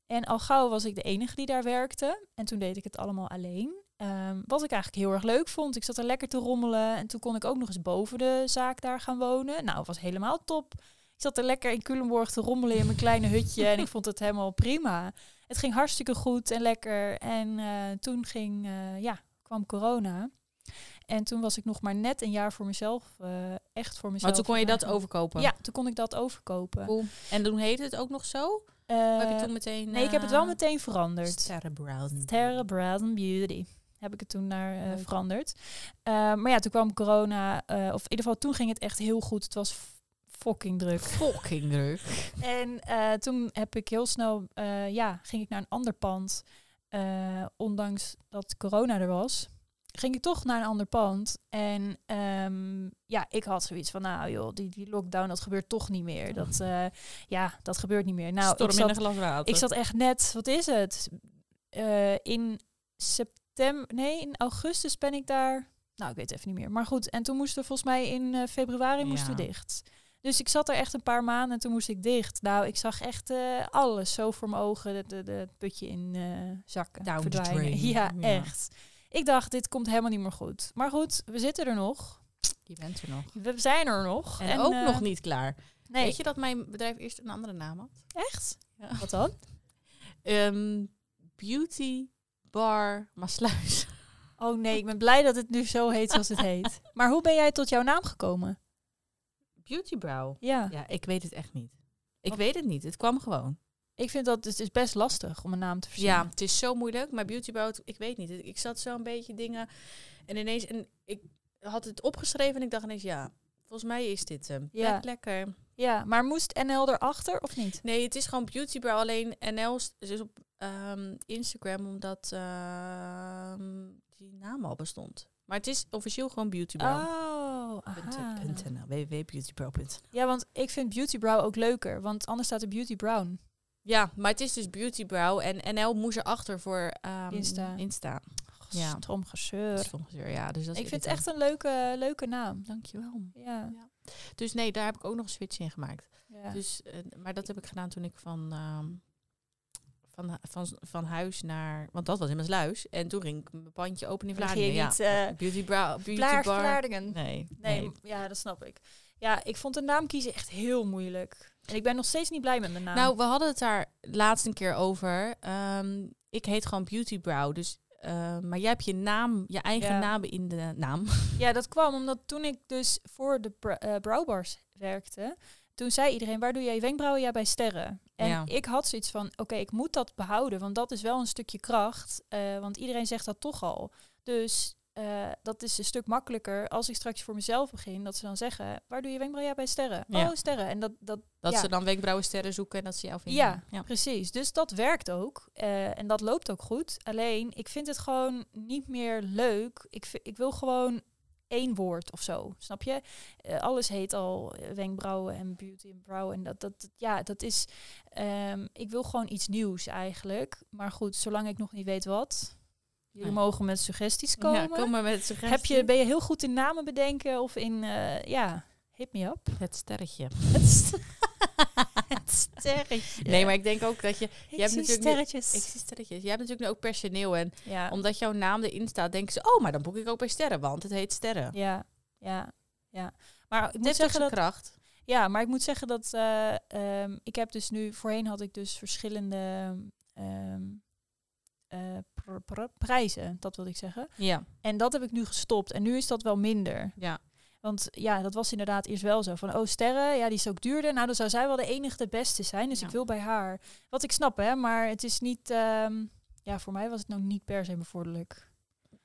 Speaker 2: En al gauw was ik de enige die daar werkte. En toen deed ik het allemaal alleen. Ehm, wat ik eigenlijk heel erg leuk vond. Ik zat er lekker te rommelen. En toen kon ik ook nog eens boven de zaak daar gaan wonen. Nou, het was helemaal top. Ik zat er lekker in Culemborg te rommelen in mijn kleine hutje. En ik vond het helemaal prima. Het ging hartstikke goed en lekker. En eh, toen ging, eh, ja, kwam corona. En toen was ik nog maar net een jaar voor mezelf, eh, echt voor mezelf.
Speaker 1: Maar toen kon je dat
Speaker 2: gaan.
Speaker 1: overkopen.
Speaker 2: Ja, toen kon ik dat overkopen.
Speaker 1: Cool. En toen heette het ook nog zo? Of heb
Speaker 2: Eh,
Speaker 1: je toen meteen... eh,
Speaker 2: nee, ik heb het wel meteen veranderd.
Speaker 1: Cerebrown.
Speaker 2: Terra Brand and Beauty. Heb ik het toen naar eh,
Speaker 1: Leuk.
Speaker 2: veranderd. Eh, maar ja, toen kwam corona. eh, of in ieder geval, toen ging het echt heel goed. Het was f- fucking druk.
Speaker 1: Fucking druk.
Speaker 2: En eh, toen heb ik heel snel, eh, ja, ging ik naar een ander pand. Eh, ondanks dat corona er was, ging ik toch naar een ander pand. En ehm, ja, ik had zoiets van, nou joh, die, die lockdown, dat gebeurt toch niet meer. Dat, eh, ja, dat gebeurt niet meer. Nou,
Speaker 1: Storm
Speaker 2: ik
Speaker 1: in
Speaker 2: zat,
Speaker 1: een glas water.
Speaker 2: ik zat echt net, wat is het? Eh, in september, nee, in augustus ben ik daar. Nou, ik weet het even niet meer. Maar goed, en toen moesten we volgens mij in eh, februari moesten we
Speaker 1: Ja.
Speaker 2: dicht. Dus ik zat er echt een paar maanden en toen moest ik dicht. Nou, ik zag echt eh, alles zo voor mijn ogen, de, de, de- het putje in eh, zakken
Speaker 1: Down the
Speaker 2: verdwijnen.
Speaker 1: drain.
Speaker 2: Ja,
Speaker 1: Ja.
Speaker 2: echt. Ik dacht, dit komt helemaal niet meer goed. Maar goed, we zitten er nog.
Speaker 1: Je bent er nog.
Speaker 2: We zijn er nog.
Speaker 1: En, ook
Speaker 2: eh,
Speaker 1: nog niet klaar.
Speaker 2: Nee,
Speaker 1: Weet je dat mijn bedrijf eerst een andere naam had?
Speaker 2: echt?
Speaker 1: Ja.
Speaker 2: Wat dan?
Speaker 1: Ehm, beauty Bar Maasluis.
Speaker 2: Oh nee, ik ben blij dat het nu zo heet zoals het heet. Maar hoe ben jij tot jouw naam gekomen?
Speaker 1: Beauty Brow.
Speaker 2: Ja,
Speaker 1: Ja, ik weet het echt niet. Ik
Speaker 2: Wat?
Speaker 1: weet het niet. Het kwam gewoon.
Speaker 2: ik vind dat het is best lastig om een naam te verzinnen.
Speaker 1: Ja, het is zo moeilijk. Maar Beauty Brow, het- ik weet niet. Ik zat zo een beetje dingen. En ineens, en ik had het opgeschreven en ik dacht ineens, ja, volgens mij is dit hem.
Speaker 2: Ja.
Speaker 1: Lijkt lekker.
Speaker 2: ja, maar moest NL erachter of niet?
Speaker 1: Nee, het is gewoon Beauty Brow. Alleen NL is op ehm, Instagram omdat ehm, die naam al bestond. Maar het is officieel gewoon beautybrow.nl.
Speaker 2: Oh, aha.
Speaker 1: www.beautybrow.nl
Speaker 2: Ja, want ik vind Beauty Brow ook leuker, want anders staat er Beauty Brown.
Speaker 1: Ja, maar het is dus beautybrow en NL moest erachter voor ehm,
Speaker 2: Insta.
Speaker 1: Insta. Ja.
Speaker 2: Ja.
Speaker 1: Dat
Speaker 2: Stromgezeur.
Speaker 1: is volgens haar, ja. Dus dat is
Speaker 2: Ik vind het
Speaker 1: irritant.
Speaker 2: echt een leuke, leuke naam.
Speaker 1: Dankjewel.
Speaker 2: Ja.
Speaker 1: Dus nee, daar heb ik ook nog een switch in gemaakt.
Speaker 2: ja.
Speaker 1: Dus, eh, maar dat heb ik gedaan toen ik van, ehm, van, van, van huis naar... Want dat was in mijn sluis. En toen ging ik mijn pandje open in
Speaker 2: Dan ging
Speaker 1: Vlaardingen.
Speaker 2: je
Speaker 1: Ja.
Speaker 2: niet, eh,
Speaker 1: beauty brow, beauty
Speaker 2: Vlaar-
Speaker 1: bar.
Speaker 2: Vlaardingen.
Speaker 1: Nee,
Speaker 2: Nee,
Speaker 1: nee.
Speaker 2: m- ja, dat snap ik. Ja, ik vond de naam kiezen echt heel moeilijk. En ik ben nog steeds niet blij met mijn naam.
Speaker 1: Nou, we hadden het daar laatst een keer over. Ehm, ik heet gewoon Beauty Brow. Dus, eh, maar jij hebt je naam, je eigen
Speaker 2: Ja.
Speaker 1: naam in de naam.
Speaker 2: Ja, dat kwam omdat toen ik dus voor de br- eh, browbars werkte, toen zei iedereen, waar doe jij je wenkbrauwen? Ja, bij sterren. En
Speaker 1: Ja.
Speaker 2: ik had zoiets van, oké, ik moet dat behouden, want dat is wel een stukje kracht, eh, want iedereen zegt dat toch al. Dus eh, dat is een stuk makkelijker als ik straks voor mezelf begin, dat ze dan zeggen, waar doe je wenkbrauwen? Ja, bij sterren.
Speaker 1: Ja.
Speaker 2: Oh, sterren. En dat, dat,
Speaker 1: Dat
Speaker 2: Ja.
Speaker 1: ze dan wenkbrauwensterren zoeken en dat ze jou vinden.
Speaker 2: Ja. Precies, dus dat werkt ook eh, en dat loopt ook goed. Alleen, ik vind het gewoon niet meer leuk. Ik, vi- ik wil gewoon één woord of zo, snap je? Eh, alles heet al eh, wenkbrauwen en beauty en brow en dat, dat, dat- ja, dat is... ehm, ik wil gewoon iets nieuws eigenlijk. Maar goed, zolang ik nog niet weet wat... Jullie
Speaker 1: Nee.
Speaker 2: mogen met suggesties komen.
Speaker 1: Ja, kom maar met suggestie.
Speaker 2: Heb je, ben je heel goed in namen bedenken of in... eh, ja, hit me up.
Speaker 1: het sterretje?
Speaker 2: Het sterretje.
Speaker 1: Nee, maar ik denk ook dat je...
Speaker 2: je
Speaker 1: hebt
Speaker 2: hebt natuurlijk
Speaker 1: natuurlijk
Speaker 2: sterretjes.
Speaker 1: Ik zie sterretjes. Je hebt natuurlijk nu ook personeel. En
Speaker 2: ja.
Speaker 1: omdat jouw naam erin staat, denken ze... Oh, maar dan boek ik ook bij sterren, want het heet sterren.
Speaker 2: Ja, ja, ja. Maar ik
Speaker 1: Het
Speaker 2: moet
Speaker 1: heeft toch
Speaker 2: zeggen
Speaker 1: zijn
Speaker 2: dat,
Speaker 1: kracht.
Speaker 2: ja, maar ik moet zeggen dat eh, ehm, ik heb dus nu voorheen had ik dus verschillende ehm, eh, pr- pr- prijzen, dat wilde ik zeggen.
Speaker 1: Ja.
Speaker 2: En dat heb ik nu gestopt en nu is dat wel minder.
Speaker 1: Ja.
Speaker 2: Want ja, dat was inderdaad eerst wel zo van oh sterren, ja die is ook duurder. Nou dan zou zij wel de enige de beste zijn, dus
Speaker 1: Ja.
Speaker 2: ik wil bij haar. Wat ik snap hè, maar het is niet, ehm, ja voor mij was het nou niet per se bevorderlijk.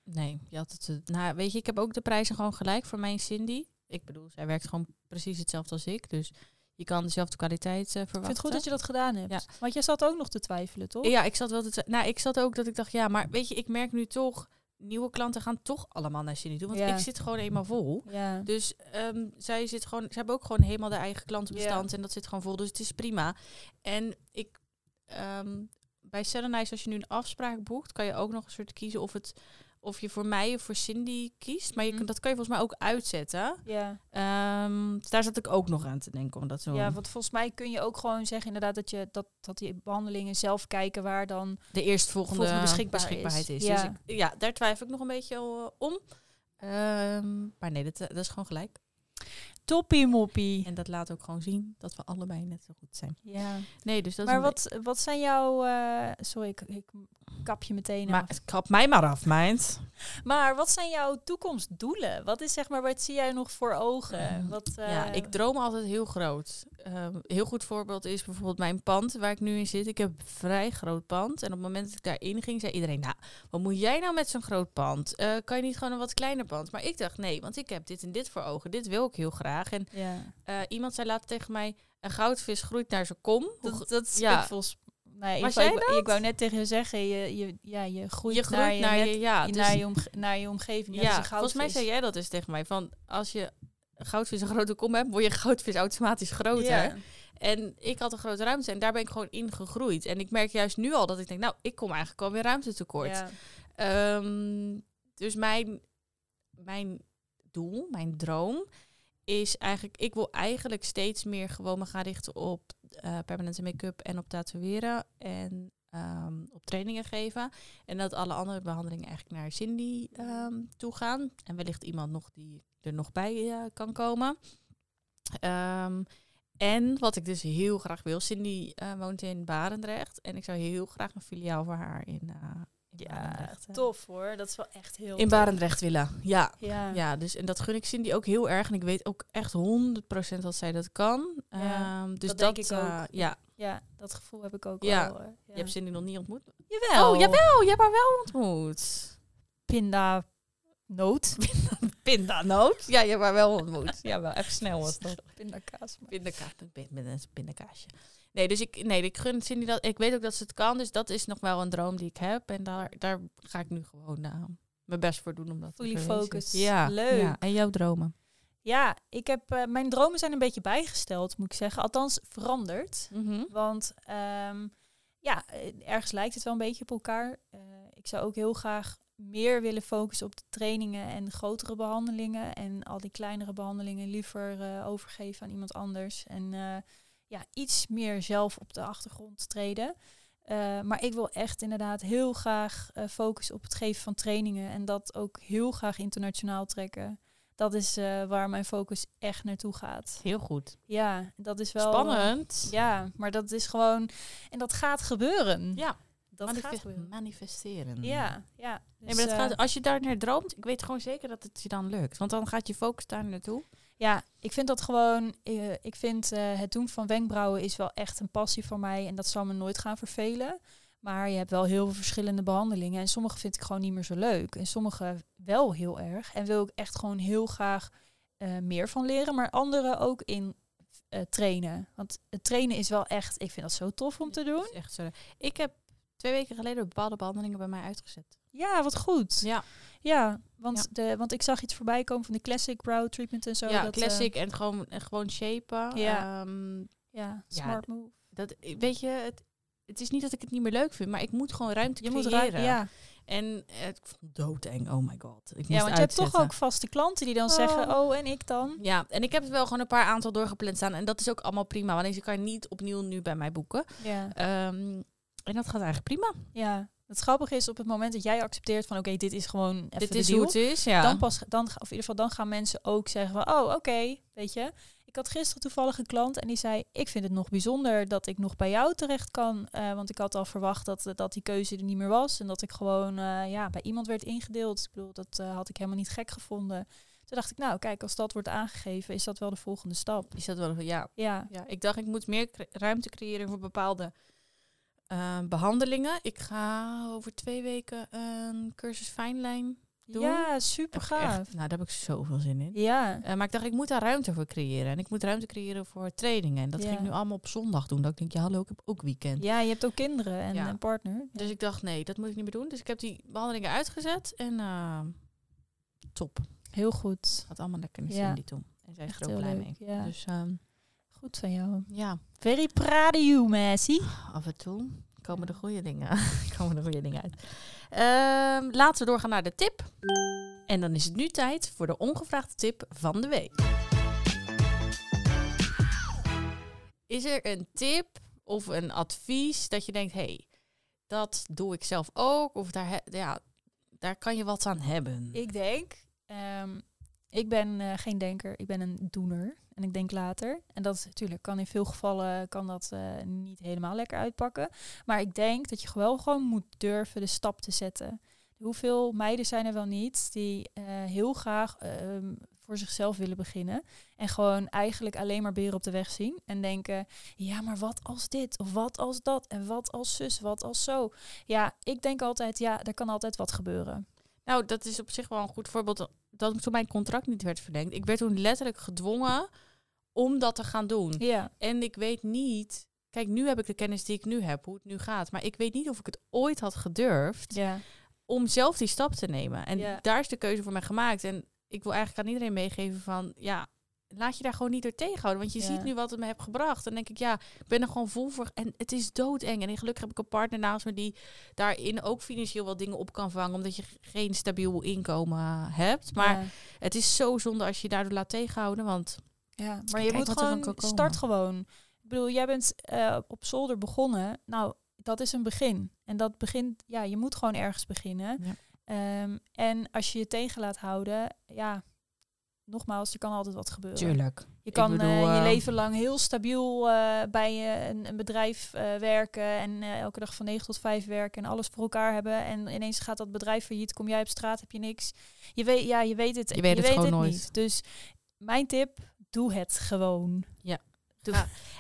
Speaker 1: Nee, je had het. eh, Nou, weet je, ik heb ook de prijzen gewoon gelijk voor mijn Cindy. Ik bedoel, zij werkt gewoon precies hetzelfde als ik. Dus je kan dezelfde kwaliteit eh, verwachten.
Speaker 2: Ik vind het goed dat je dat gedaan hebt. Want jij zat ook nog te twijfelen, toch?
Speaker 1: Ja, ik zat wel. Te, nou, ik zat ook dat ik dacht, ja, maar weet je, ik merk nu toch. Nieuwe klanten gaan toch allemaal naar Cindy toe. Want
Speaker 2: Ja.
Speaker 1: ik zit gewoon eenmaal vol.
Speaker 2: Ja.
Speaker 1: Dus ehm, zij zit gewoon. Ze hebben ook gewoon helemaal de eigen klantenbestand. En dat zit gewoon vol. Dus het is prima. En ik. ehm, bij Serenice, als je nu een afspraak boekt, kan je ook nog een soort kiezen of het. Of je voor mij of voor Cindy kiest. Maar je,
Speaker 2: Mm.
Speaker 1: kunt- dat kan je volgens mij ook uitzetten.
Speaker 2: ja.
Speaker 1: Ehm, dus daar zat ik ook nog aan te denken. Om dat zo
Speaker 2: Ja, want volgens mij kun je ook gewoon zeggen inderdaad dat, je, dat, dat die behandelingen zelf kijken waar dan...
Speaker 1: de eerstvolgende
Speaker 2: Volgende beschikbaar
Speaker 1: beschikbaarheid is.
Speaker 2: is.
Speaker 1: Ja.
Speaker 2: Ja.
Speaker 1: Dus ik, ja, daar twijfel ik nog een beetje eh, om. Ehm, maar nee, dat, eh, dat is gewoon gelijk.
Speaker 2: Toppie moppie.
Speaker 1: En dat laat ook gewoon zien dat we allebei net zo goed zijn.
Speaker 2: Ja.
Speaker 1: Nee, dus dat is
Speaker 2: Maar
Speaker 1: een
Speaker 2: wat, wat zijn jouw... eh, sorry, ik, ik kap je meteen
Speaker 1: beetje-
Speaker 2: af.
Speaker 1: Maar kap mij maar af, meid.
Speaker 2: Maar wat zijn jouw toekomstdoelen? Wat is zeg maar, wat zie jij nog voor ogen?
Speaker 1: Ehm,
Speaker 2: Wat,
Speaker 1: ja,
Speaker 2: eh,
Speaker 1: ik droom altijd heel groot. Ehm, heel goed voorbeeld is bijvoorbeeld mijn pand waar ik nu in zit. Ik heb een vrij groot pand. En op het moment dat ik daarin ging, zei iedereen... Nou, wat moet jij nou met zo'n groot pand? Eh, kan je niet gewoon een wat kleiner pand? Maar ik dacht, nee, want ik heb dit en dit voor ogen. Dit wil ik heel graag. En
Speaker 2: ja.
Speaker 1: eh, iemand zei later tegen mij... Een goudvis groeit naar zijn kom. Hoe
Speaker 2: Dat, dat is
Speaker 1: ja.
Speaker 2: ik volgens mij...
Speaker 1: Maar
Speaker 2: ik, wou,
Speaker 1: zei
Speaker 2: ik, wou- ik wou net tegen je zeggen, je, je, ja, je
Speaker 1: gro-
Speaker 2: groeit,
Speaker 1: je groeit naar je...
Speaker 2: net-
Speaker 1: ja,
Speaker 2: je-
Speaker 1: dus-
Speaker 2: naar, je omge- naar je omgeving.
Speaker 1: ja,
Speaker 2: net als een
Speaker 1: volgens mij
Speaker 2: goudvis.
Speaker 1: zei jij dat dus tegen mij. Van, als je een goudvis een grote kom hebt... word je goudvis automatisch groter.
Speaker 2: Ja.
Speaker 1: En ik had een grote ruimte en daar ben ik gewoon in gegroeid. En ik merk juist nu al dat ik denk, nou, ik kom eigenlijk alweer ruimte tekort.
Speaker 2: Ja.
Speaker 1: dus mijn, mijn doel, mijn droom is eigenlijk, ik wil eigenlijk steeds meer gewoon me gaan richten op eh, permanente make-up en op tatoeëren en ehm, op trainingen geven. En dat alle andere behandelingen eigenlijk naar Cindy ehm, toe gaan. En wellicht iemand nog die er nog bij eh, kan komen. Ehm, en wat ik dus heel graag wil, Cindy eh, woont in Barendrecht. En ik zou heel graag een filiaal voor haar in, eh in
Speaker 2: Ja,
Speaker 1: Barendrecht,
Speaker 2: echt
Speaker 1: eh,
Speaker 2: tof hoor. Dat is wel echt heel
Speaker 1: in
Speaker 2: tof.
Speaker 1: Barendrecht willen. Ja.
Speaker 2: Ja.
Speaker 1: Ja, dus en dat gun ik Cindy ook heel erg. En ik weet ook echt 100% dat zij dat kan.
Speaker 2: Ja,
Speaker 1: Ehm, dus
Speaker 2: dat
Speaker 1: dat,
Speaker 2: denk ik ook.
Speaker 1: eh, ja.
Speaker 2: Ja, dat gevoel heb ik ook
Speaker 1: Ja.
Speaker 2: wel. hoor. Ja.
Speaker 1: Je hebt Cindy nog niet ontmoet.
Speaker 2: Jawel.
Speaker 1: Oh, jawel. Je hebt haar wel ontmoet.
Speaker 2: Pinda noot.
Speaker 1: Pindanoot. Ja, je hebt haar wel ontmoet. ja, wel. Even snel was dat.
Speaker 2: Pindakaas. maar-
Speaker 1: Pindakaas. Pindakaasje. Nee, dus ik, nee, ik gun Cindy dat. Ik weet ook dat ze het kan. Dus dat is nog wel een droom die ik heb. En daar, daar ga ik nu gewoon eh, mijn best voor doen. Om dat te
Speaker 2: Fully
Speaker 1: verwezenlijken.
Speaker 2: focused.
Speaker 1: Ja,
Speaker 2: Leuk.
Speaker 1: ja. En jouw dromen.
Speaker 2: Ja, ik heb, eh, mijn dromen zijn een beetje bijgesteld, moet ik zeggen. Althans, veranderd. Want ehm, ja, eh, ergens lijkt het wel een beetje op elkaar. Eh, ik zou ook heel graag meer willen focussen op de trainingen en grotere behandelingen. En al die kleinere behandelingen liever eh, overgeven aan iemand anders. En eh, ja, iets meer zelf op de achtergrond treden. Eh, maar ik wil echt inderdaad heel graag eh, focussen op het geven van trainingen. En dat ook heel graag internationaal trekken. Dat is eh, waar mijn focus echt naartoe gaat.
Speaker 1: Heel goed.
Speaker 2: Ja, dat is wel... eh,
Speaker 1: Spannend.
Speaker 2: Ja, maar dat is gewoon. En dat gaat gebeuren.
Speaker 1: Ja,
Speaker 2: dat gaat
Speaker 1: Manifest-
Speaker 2: gebeuren.
Speaker 1: manifesteren.
Speaker 2: Ja, ja.
Speaker 1: Nee,
Speaker 2: Dus,
Speaker 1: maar dat
Speaker 2: eh,
Speaker 1: gaat, als je daar naar droomt, ik weet gewoon zeker dat het je dan lukt. Want dan gaat je focus daar naartoe.
Speaker 2: ja, ik vind dat gewoon. eh, ik vind eh, het doen van wenkbrauwen is wel echt een passie voor mij. En dat zal me nooit gaan vervelen. Maar je hebt wel heel veel verschillende behandelingen. En sommige vind ik gewoon niet meer zo leuk. En sommige wel heel erg. En wil ik echt gewoon heel graag eh, meer van leren. Maar andere ook in eh, trainen. Want het trainen is wel echt. Ik vind dat zo tof om te doen.
Speaker 1: Dat is echt zo. Ik heb twee weken geleden bepaalde behandelingen bij mij uitgezet.
Speaker 2: Ja, wat goed.
Speaker 1: Ja,
Speaker 2: Ja, want, De, want ik zag iets voorbij komen van de classic brow treatment en zo.
Speaker 1: ja
Speaker 2: dat, eh,
Speaker 1: classic en gewoon, en gewoon shapen.
Speaker 2: Ja.
Speaker 1: Ehm,
Speaker 2: ja,
Speaker 1: Ja,
Speaker 2: smart move.
Speaker 1: dat, eh, weet je, het, het is niet dat ik het niet meer leuk vind, maar ik moet gewoon ruimte creëren.
Speaker 2: ruim- Ja,
Speaker 1: En eh, ik vond het doodeng, oh my god. Ik moest
Speaker 2: ja want je hebt toch
Speaker 1: uitzetten.
Speaker 2: ook vaste klanten die dan
Speaker 1: Oh.
Speaker 2: zeggen, oh en ik dan?
Speaker 1: Ja, en ik heb wel gewoon een paar aantal doorgepland staan. En dat is ook allemaal prima, want ik kan niet opnieuw nu bij mij boeken.
Speaker 2: Ja,
Speaker 1: Ehm, en dat gaat eigenlijk prima.
Speaker 2: ja. Het grappige is op het moment dat jij accepteert van oké, dit is gewoon even
Speaker 1: Dit
Speaker 2: de
Speaker 1: is
Speaker 2: deal,
Speaker 1: hoe het is, ja.
Speaker 2: Dan pas, dan, ga- of in ieder geval, dan gaan mensen ook zeggen van, oh, oké, weet je. Ik had gisteren toevallig een klant en die zei, ik vind het nog bijzonder dat ik nog bij jou terecht kan. eh, want ik had al verwacht dat, eh, dat die keuze er niet meer was. En dat ik gewoon eh, ja, bij iemand werd ingedeeld. Ik bedoel, dat eh, had ik helemaal niet gek gevonden. Toen dacht ik, nou kijk, als dat wordt aangegeven, is dat wel de volgende stap.
Speaker 1: Is dat wel, ja.
Speaker 2: Ja,
Speaker 1: ja. Ik dacht, ik moet meer cre- ruimte creëren voor bepaalde eh, behandelingen. Ik ga over twee weken een cursus fijnlijn doen.
Speaker 2: ja super
Speaker 1: Heb ik
Speaker 2: gaaf.
Speaker 1: echt- nou, daar heb ik zoveel zin in.
Speaker 2: Ja,
Speaker 1: Eh, maar ik dacht, ik moet daar ruimte voor creëren. En ik moet ruimte creëren voor trainingen. En dat
Speaker 2: Ja.
Speaker 1: ging ik nu allemaal op zondag doen. Dat ik denk, ja, hallo, ik heb ook weekend.
Speaker 2: ja, je hebt ook kinderen en
Speaker 1: Ja.
Speaker 2: een partner.
Speaker 1: Dus ik dacht, nee, dat moet ik niet meer doen. Dus ik heb die behandelingen uitgezet. En eh, top.
Speaker 2: Heel goed.
Speaker 1: Gaat allemaal lekker naar
Speaker 2: Ja.
Speaker 1: Cindy toe. En zij is
Speaker 2: Echt
Speaker 1: er ook
Speaker 2: heel
Speaker 1: blij
Speaker 2: leuk.
Speaker 1: mee.
Speaker 2: Ja.
Speaker 1: Dus ehm,
Speaker 2: Goed van jou.
Speaker 1: ja,
Speaker 2: Very proud of you, Messi.
Speaker 1: af en toe komen de goede dingen, komen de goede dingen uit. Ehm, laten we doorgaan naar de tip. En dan is het nu tijd voor de ongevraagde tip van de week. Is er een tip of een advies dat je denkt, hé, hey, dat doe ik zelf ook? Of daar, he- ja, daar kan je wat aan hebben.
Speaker 2: Ik denk, ehm, ik ben eh, geen denker, ik ben een doener. En ik denk later. En dat is natuurlijk, kan in veel gevallen kan dat eh, niet helemaal lekker uitpakken. Maar ik denk dat je wel gewoon moet durven de stap te zetten. Hoeveel meiden zijn er wel niet die eh, heel graag ehm, voor zichzelf willen beginnen. En gewoon eigenlijk alleen maar beren op de weg zien. En denken, ja, maar wat als dit? Of wat als dat? En wat als zus? Wat als zo? Ja, ik denk altijd, ja, er kan altijd wat gebeuren.
Speaker 1: Nou, dat is op zich wel een goed voorbeeld. Dat toen mijn contract niet werd verlengd. Ik werd toen letterlijk gedwongen om dat te gaan doen.
Speaker 2: Ja.
Speaker 1: En ik weet niet. Kijk, nu heb ik de kennis die ik nu heb, hoe het nu gaat. Maar ik weet niet of ik het ooit had gedurfd
Speaker 2: Ja.
Speaker 1: om zelf die stap te nemen. En
Speaker 2: Ja.
Speaker 1: daar is de keuze voor mij gemaakt. En ik wil eigenlijk aan iedereen meegeven van ja, laat je daar gewoon niet door tegenhouden. Want je
Speaker 2: Ja.
Speaker 1: ziet nu wat het me heeft gebracht. Dan denk ik, ja, ik ben er gewoon vol voor. En het is doodeng. En gelukkig heb ik een partner naast me die daarin ook financieel wel dingen op kan vangen. Omdat je geen stabiel inkomen hebt. Maar
Speaker 2: ja,
Speaker 1: het is zo zonde als je je daardoor laat tegenhouden. Want
Speaker 2: ja, maar je
Speaker 1: Kijk wat
Speaker 2: moet
Speaker 1: er van
Speaker 2: gewoon
Speaker 1: kan komen.
Speaker 2: start gewoon. Ik bedoel, jij bent eh, op zolder begonnen. Nou, dat is een begin. En dat begint, ja, je moet gewoon ergens beginnen.
Speaker 1: Ja.
Speaker 2: Ehm, en als je je tegen laat houden, ja, nogmaals, er kan altijd wat gebeuren.
Speaker 1: tuurlijk.
Speaker 2: Je
Speaker 1: Ik
Speaker 2: kan eh,
Speaker 1: bedoel,
Speaker 2: je
Speaker 1: eh,
Speaker 2: leven lang heel stabiel eh, bij eh, een, een bedrijf eh, werken en eh, elke dag van 9 tot 5 werken en alles voor elkaar hebben. En ineens gaat dat bedrijf failliet, kom jij op straat, heb je niks. Je weet, ja, je weet het,
Speaker 1: Je weet het gewoon nooit.
Speaker 2: niet. Dus mijn tip, doe het gewoon.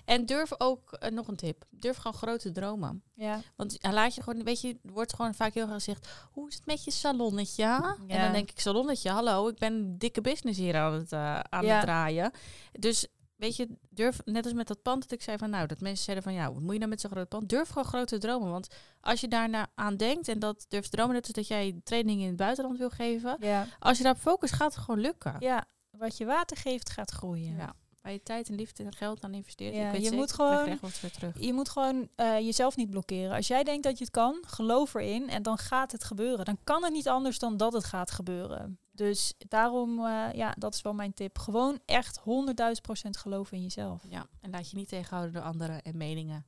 Speaker 1: En durf ook eh, nog een tip. Durf gewoon grote dromen.
Speaker 2: Ja,
Speaker 1: Want hij laat je gewoon, weet je, er wordt gewoon vaak heel erg gezegd: hoe is het met je salonnetje? En dan denk ik: salonnetje, hallo, ik ben een dikke business hier aan het, eh, aan
Speaker 2: Ja.
Speaker 1: het draaien. Dus Weet je, durf, net als met dat pand dat ik zei van nou, dat mensen zeiden van ja, wat moet je nou met zo'n groot pand? Durf gewoon grote dromen. Want als je daarna aan denkt en dat durft dromen, net als dat jij training in het buitenland wil geven.
Speaker 2: Ja.
Speaker 1: Als je daarop focust, gaat het gewoon lukken.
Speaker 2: ja, wat je water geeft gaat groeien.
Speaker 1: Ja. Waar je tijd en liefde en geld aan investeert.
Speaker 2: Ja,
Speaker 1: ik weet
Speaker 2: je
Speaker 1: zeker,
Speaker 2: moet
Speaker 1: ik krijg
Speaker 2: gewoon-
Speaker 1: echt wat weer terug.
Speaker 2: Je moet gewoon eh, jezelf niet blokkeren. Als jij denkt dat je het kan, geloof erin en dan gaat het gebeuren. Dan kan het niet anders dan dat het gaat gebeuren. Dus daarom, eh, ja, dat is wel mijn tip. Gewoon echt 100.000 procent geloven in jezelf.
Speaker 1: Ja, en laat je niet tegenhouden door anderen en meningen.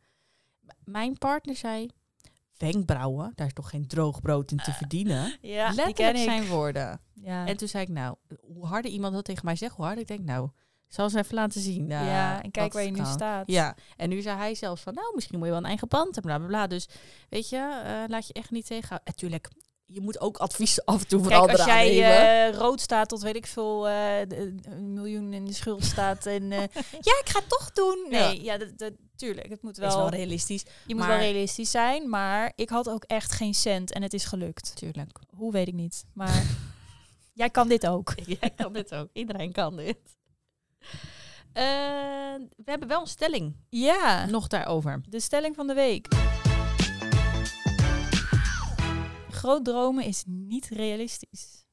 Speaker 1: M- mijn partner zei, wenkbrauwen, daar is toch geen droog brood in te verdienen?
Speaker 2: Ah. Ja,
Speaker 1: Letterlijk zijn woorden.
Speaker 2: Ja.
Speaker 1: En toen zei ik, nou, hoe harder iemand dat tegen mij zegt, hoe harder ik denk, nou, ik zal ze even laten zien. eh,
Speaker 2: ja, en
Speaker 1: dat
Speaker 2: kijk waar je
Speaker 1: het
Speaker 2: nu
Speaker 1: kan.
Speaker 2: staat.
Speaker 1: Ja, en nu zei hij zelfs van, nou, misschien moet je wel een eigen pand en bla bla bla. Dus weet je, eh, laat je echt niet tegenhouden. Natuurlijk, je moet ook advies af en toe
Speaker 2: Kijk,
Speaker 1: vooral
Speaker 2: als jij
Speaker 1: aannemen.
Speaker 2: eh, rood staat tot weet ik veel, eh, d- een miljoen in de schuld staat en eh, ja, ik ga het toch doen.
Speaker 1: Ja.
Speaker 2: Nee, ja, dat, dat, tuurlijk, het moet
Speaker 1: Dat is
Speaker 2: wel,
Speaker 1: wel realistisch.
Speaker 2: je moet
Speaker 1: maar-
Speaker 2: wel realistisch zijn, maar ik had ook echt geen cent en het is gelukt.
Speaker 1: Tuurlijk.
Speaker 2: Hoe weet ik niet, maar jij kan dit ook.
Speaker 1: Jij kan dit ook. Iedereen kan dit. Eh, we hebben wel een stelling
Speaker 2: Ja,
Speaker 1: nog daarover.
Speaker 2: de stelling van de week. Groot dromen is niet realistisch.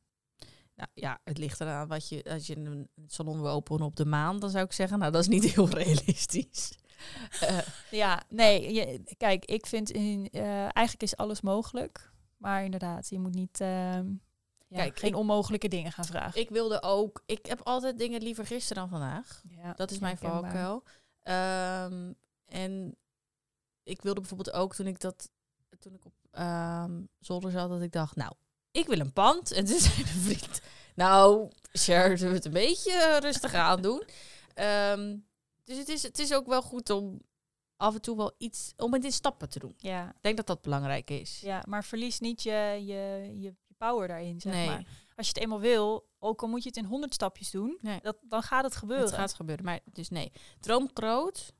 Speaker 1: Nou, ja, het ligt eraan wat je, als je een salon wil openen op de maan, dan zou ik zeggen, nou dat is niet heel realistisch. Eh,
Speaker 2: Ja, nee, je- kijk, ik vind in, eh, eigenlijk is alles mogelijk. Maar inderdaad, je moet niet ehm, ja,
Speaker 1: Kijk,
Speaker 2: geen
Speaker 1: ik-
Speaker 2: onmogelijke dingen gaan vragen.
Speaker 1: Ik wilde ook, ik heb altijd dingen liever gisteren dan vandaag.
Speaker 2: ja,
Speaker 1: Dat is mijn
Speaker 2: herkenbaar.
Speaker 1: valkuil. Ehm, en ik wilde bijvoorbeeld ook toen ik dat, toen ik op ehm, zolder zat, dat ik dacht, nou, ik wil een pand. En toen zei mijn vriend, nou, Cher, zullen we het een beetje eh, rustig aan doen? Ehm, dus het is, het is ook wel goed om af en toe wel iets, om het in stappen te doen.
Speaker 2: Ja,
Speaker 1: Ik denk dat dat belangrijk is.
Speaker 2: ja, maar verlies niet je, je, je, je power daarin, zeg
Speaker 1: Nee.
Speaker 2: maar. Als je het eenmaal wil, ook al moet je het in honderd stapjes doen,
Speaker 1: Nee.
Speaker 2: dat, dan gaat het gebeuren.
Speaker 1: Het gaat gebeuren, maar dus nee. Droom groot.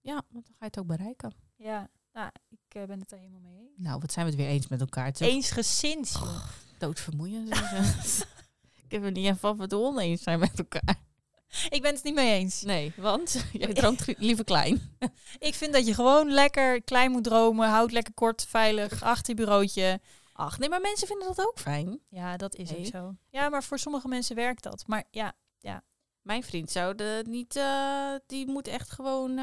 Speaker 1: Ja, want dan ga je het ook bereiken.
Speaker 2: Ja, nou, ik eh, ben het er helemaal mee eens.
Speaker 1: Nou, wat zijn we het weer eens met elkaar. Het is ook
Speaker 2: Eensgezind. joh.
Speaker 1: doodvermoeiend. ik heb het niet even af het oneens zijn met elkaar.
Speaker 2: Ik ben het niet mee eens.
Speaker 1: Nee, want jij droomt li- liever klein.
Speaker 2: Ik vind dat je gewoon lekker klein moet dromen. Houd lekker kort, veilig, achter je bureautje.
Speaker 1: Ach, nee, maar mensen vinden dat ook fijn.
Speaker 2: Ja, dat is
Speaker 1: Nee.
Speaker 2: ook zo. Ja, maar voor sommige mensen werkt dat. Maar ja,
Speaker 1: Mijn vriend zou de niet, eh, die moet echt gewoon. eh,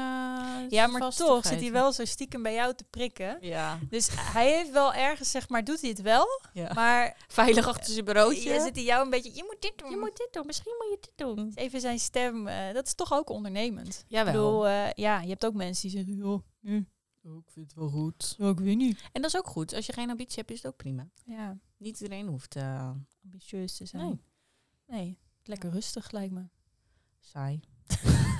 Speaker 2: ja maar
Speaker 1: vastigheid.
Speaker 2: toch zit hij wel zo stiekem bij jou te prikken.
Speaker 1: Ja.
Speaker 2: Dus hij heeft wel ergens, zeg maar, doet hij het wel.
Speaker 1: ja.
Speaker 2: Maar
Speaker 1: Veilig achter zijn bureautje.
Speaker 2: ja, zit hij jou een beetje, je moet dit doen. Dus
Speaker 1: Je moet dit doen, misschien moet je dit doen.
Speaker 2: Even zijn stem, eh, dat is toch ook ondernemend. Ik
Speaker 1: Jawel.
Speaker 2: bedoel, eh, ja, je hebt ook mensen die zeggen, joh, nu,
Speaker 1: ik vind het wel goed.
Speaker 2: ik weet niet.
Speaker 1: En dat is ook goed. Als je geen ambitie hebt, is het ook prima.
Speaker 2: Ja,
Speaker 1: Niet iedereen hoeft eh,
Speaker 2: ambitieus te zijn.
Speaker 1: Nee.
Speaker 2: Nee, lekker rustig lijkt me.
Speaker 1: saai.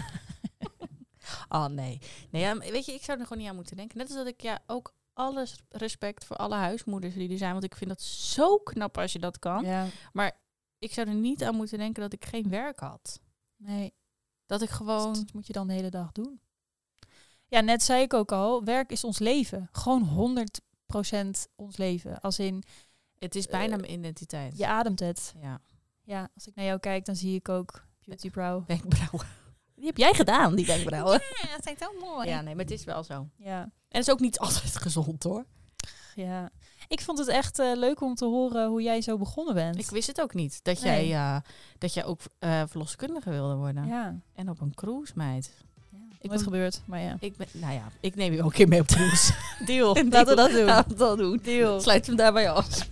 Speaker 1: oh nee. Nee, ja, maar weet je, ik zou er gewoon niet aan moeten denken. Net als dat ik ja ook alles respect voor alle huismoeders die er zijn. Want ik vind dat zo knap als je dat kan.
Speaker 2: Ja,
Speaker 1: Ik zou er niet aan moeten denken dat ik geen werk had.
Speaker 2: nee,
Speaker 1: Dat ik
Speaker 2: dat
Speaker 1: gewoon.
Speaker 2: moet je dan de hele dag doen. Ja, net zei ik ook al, werk is ons leven. Gewoon 100% ons leven. Als in,
Speaker 1: Het is bijna mijn identiteit.
Speaker 2: je ademt het.
Speaker 1: ja.
Speaker 2: Ja, als ik naar jou kijk, dan zie ik ook Beauty Brow.
Speaker 1: Wenkbrauwen. Die heb jij gedaan, die wenkbrauwen.
Speaker 2: Ja, dat lijkt heel mooi.
Speaker 1: Ja,
Speaker 2: Ja,
Speaker 1: nee, maar het is wel zo.
Speaker 2: ja,
Speaker 1: En het is ook niet altijd gezond hoor.
Speaker 2: Ik vond het echt eh, leuk om te horen hoe jij zo begonnen bent.
Speaker 1: Ik wist het ook niet dat jij,
Speaker 2: Nee.
Speaker 1: eh, dat jij ook eh, verloskundige wilde worden.
Speaker 2: Ja,
Speaker 1: En op een cruise, meid.
Speaker 2: ja.
Speaker 1: Ik
Speaker 2: Ik
Speaker 1: ben-
Speaker 2: nooit gebeurd, maar ja.
Speaker 1: Ik ben, nou ja, ik neem je ook een keer mee op de cruise.
Speaker 2: Deal,
Speaker 1: Deal.
Speaker 2: laten we dat doen.
Speaker 1: Laten we dat doen.
Speaker 2: Deal.
Speaker 1: Sluit hem daarbij af.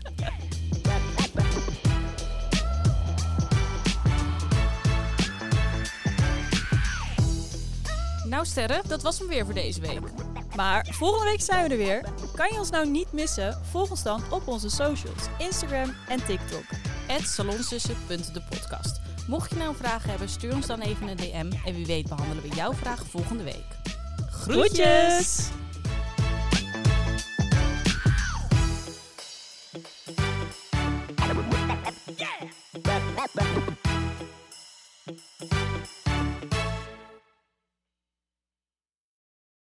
Speaker 1: Nou sterren, dat was hem weer voor deze week.
Speaker 2: Maar volgende week zijn we er weer. Kan je ons nou niet missen? Volg ons dan op onze socials, Instagram en TikTok.
Speaker 1: de podcast. Mocht je nou een vraag hebben, stuur ons dan even een DM. En wie weet behandelen we jouw vraag volgende week.
Speaker 2: Groetjes!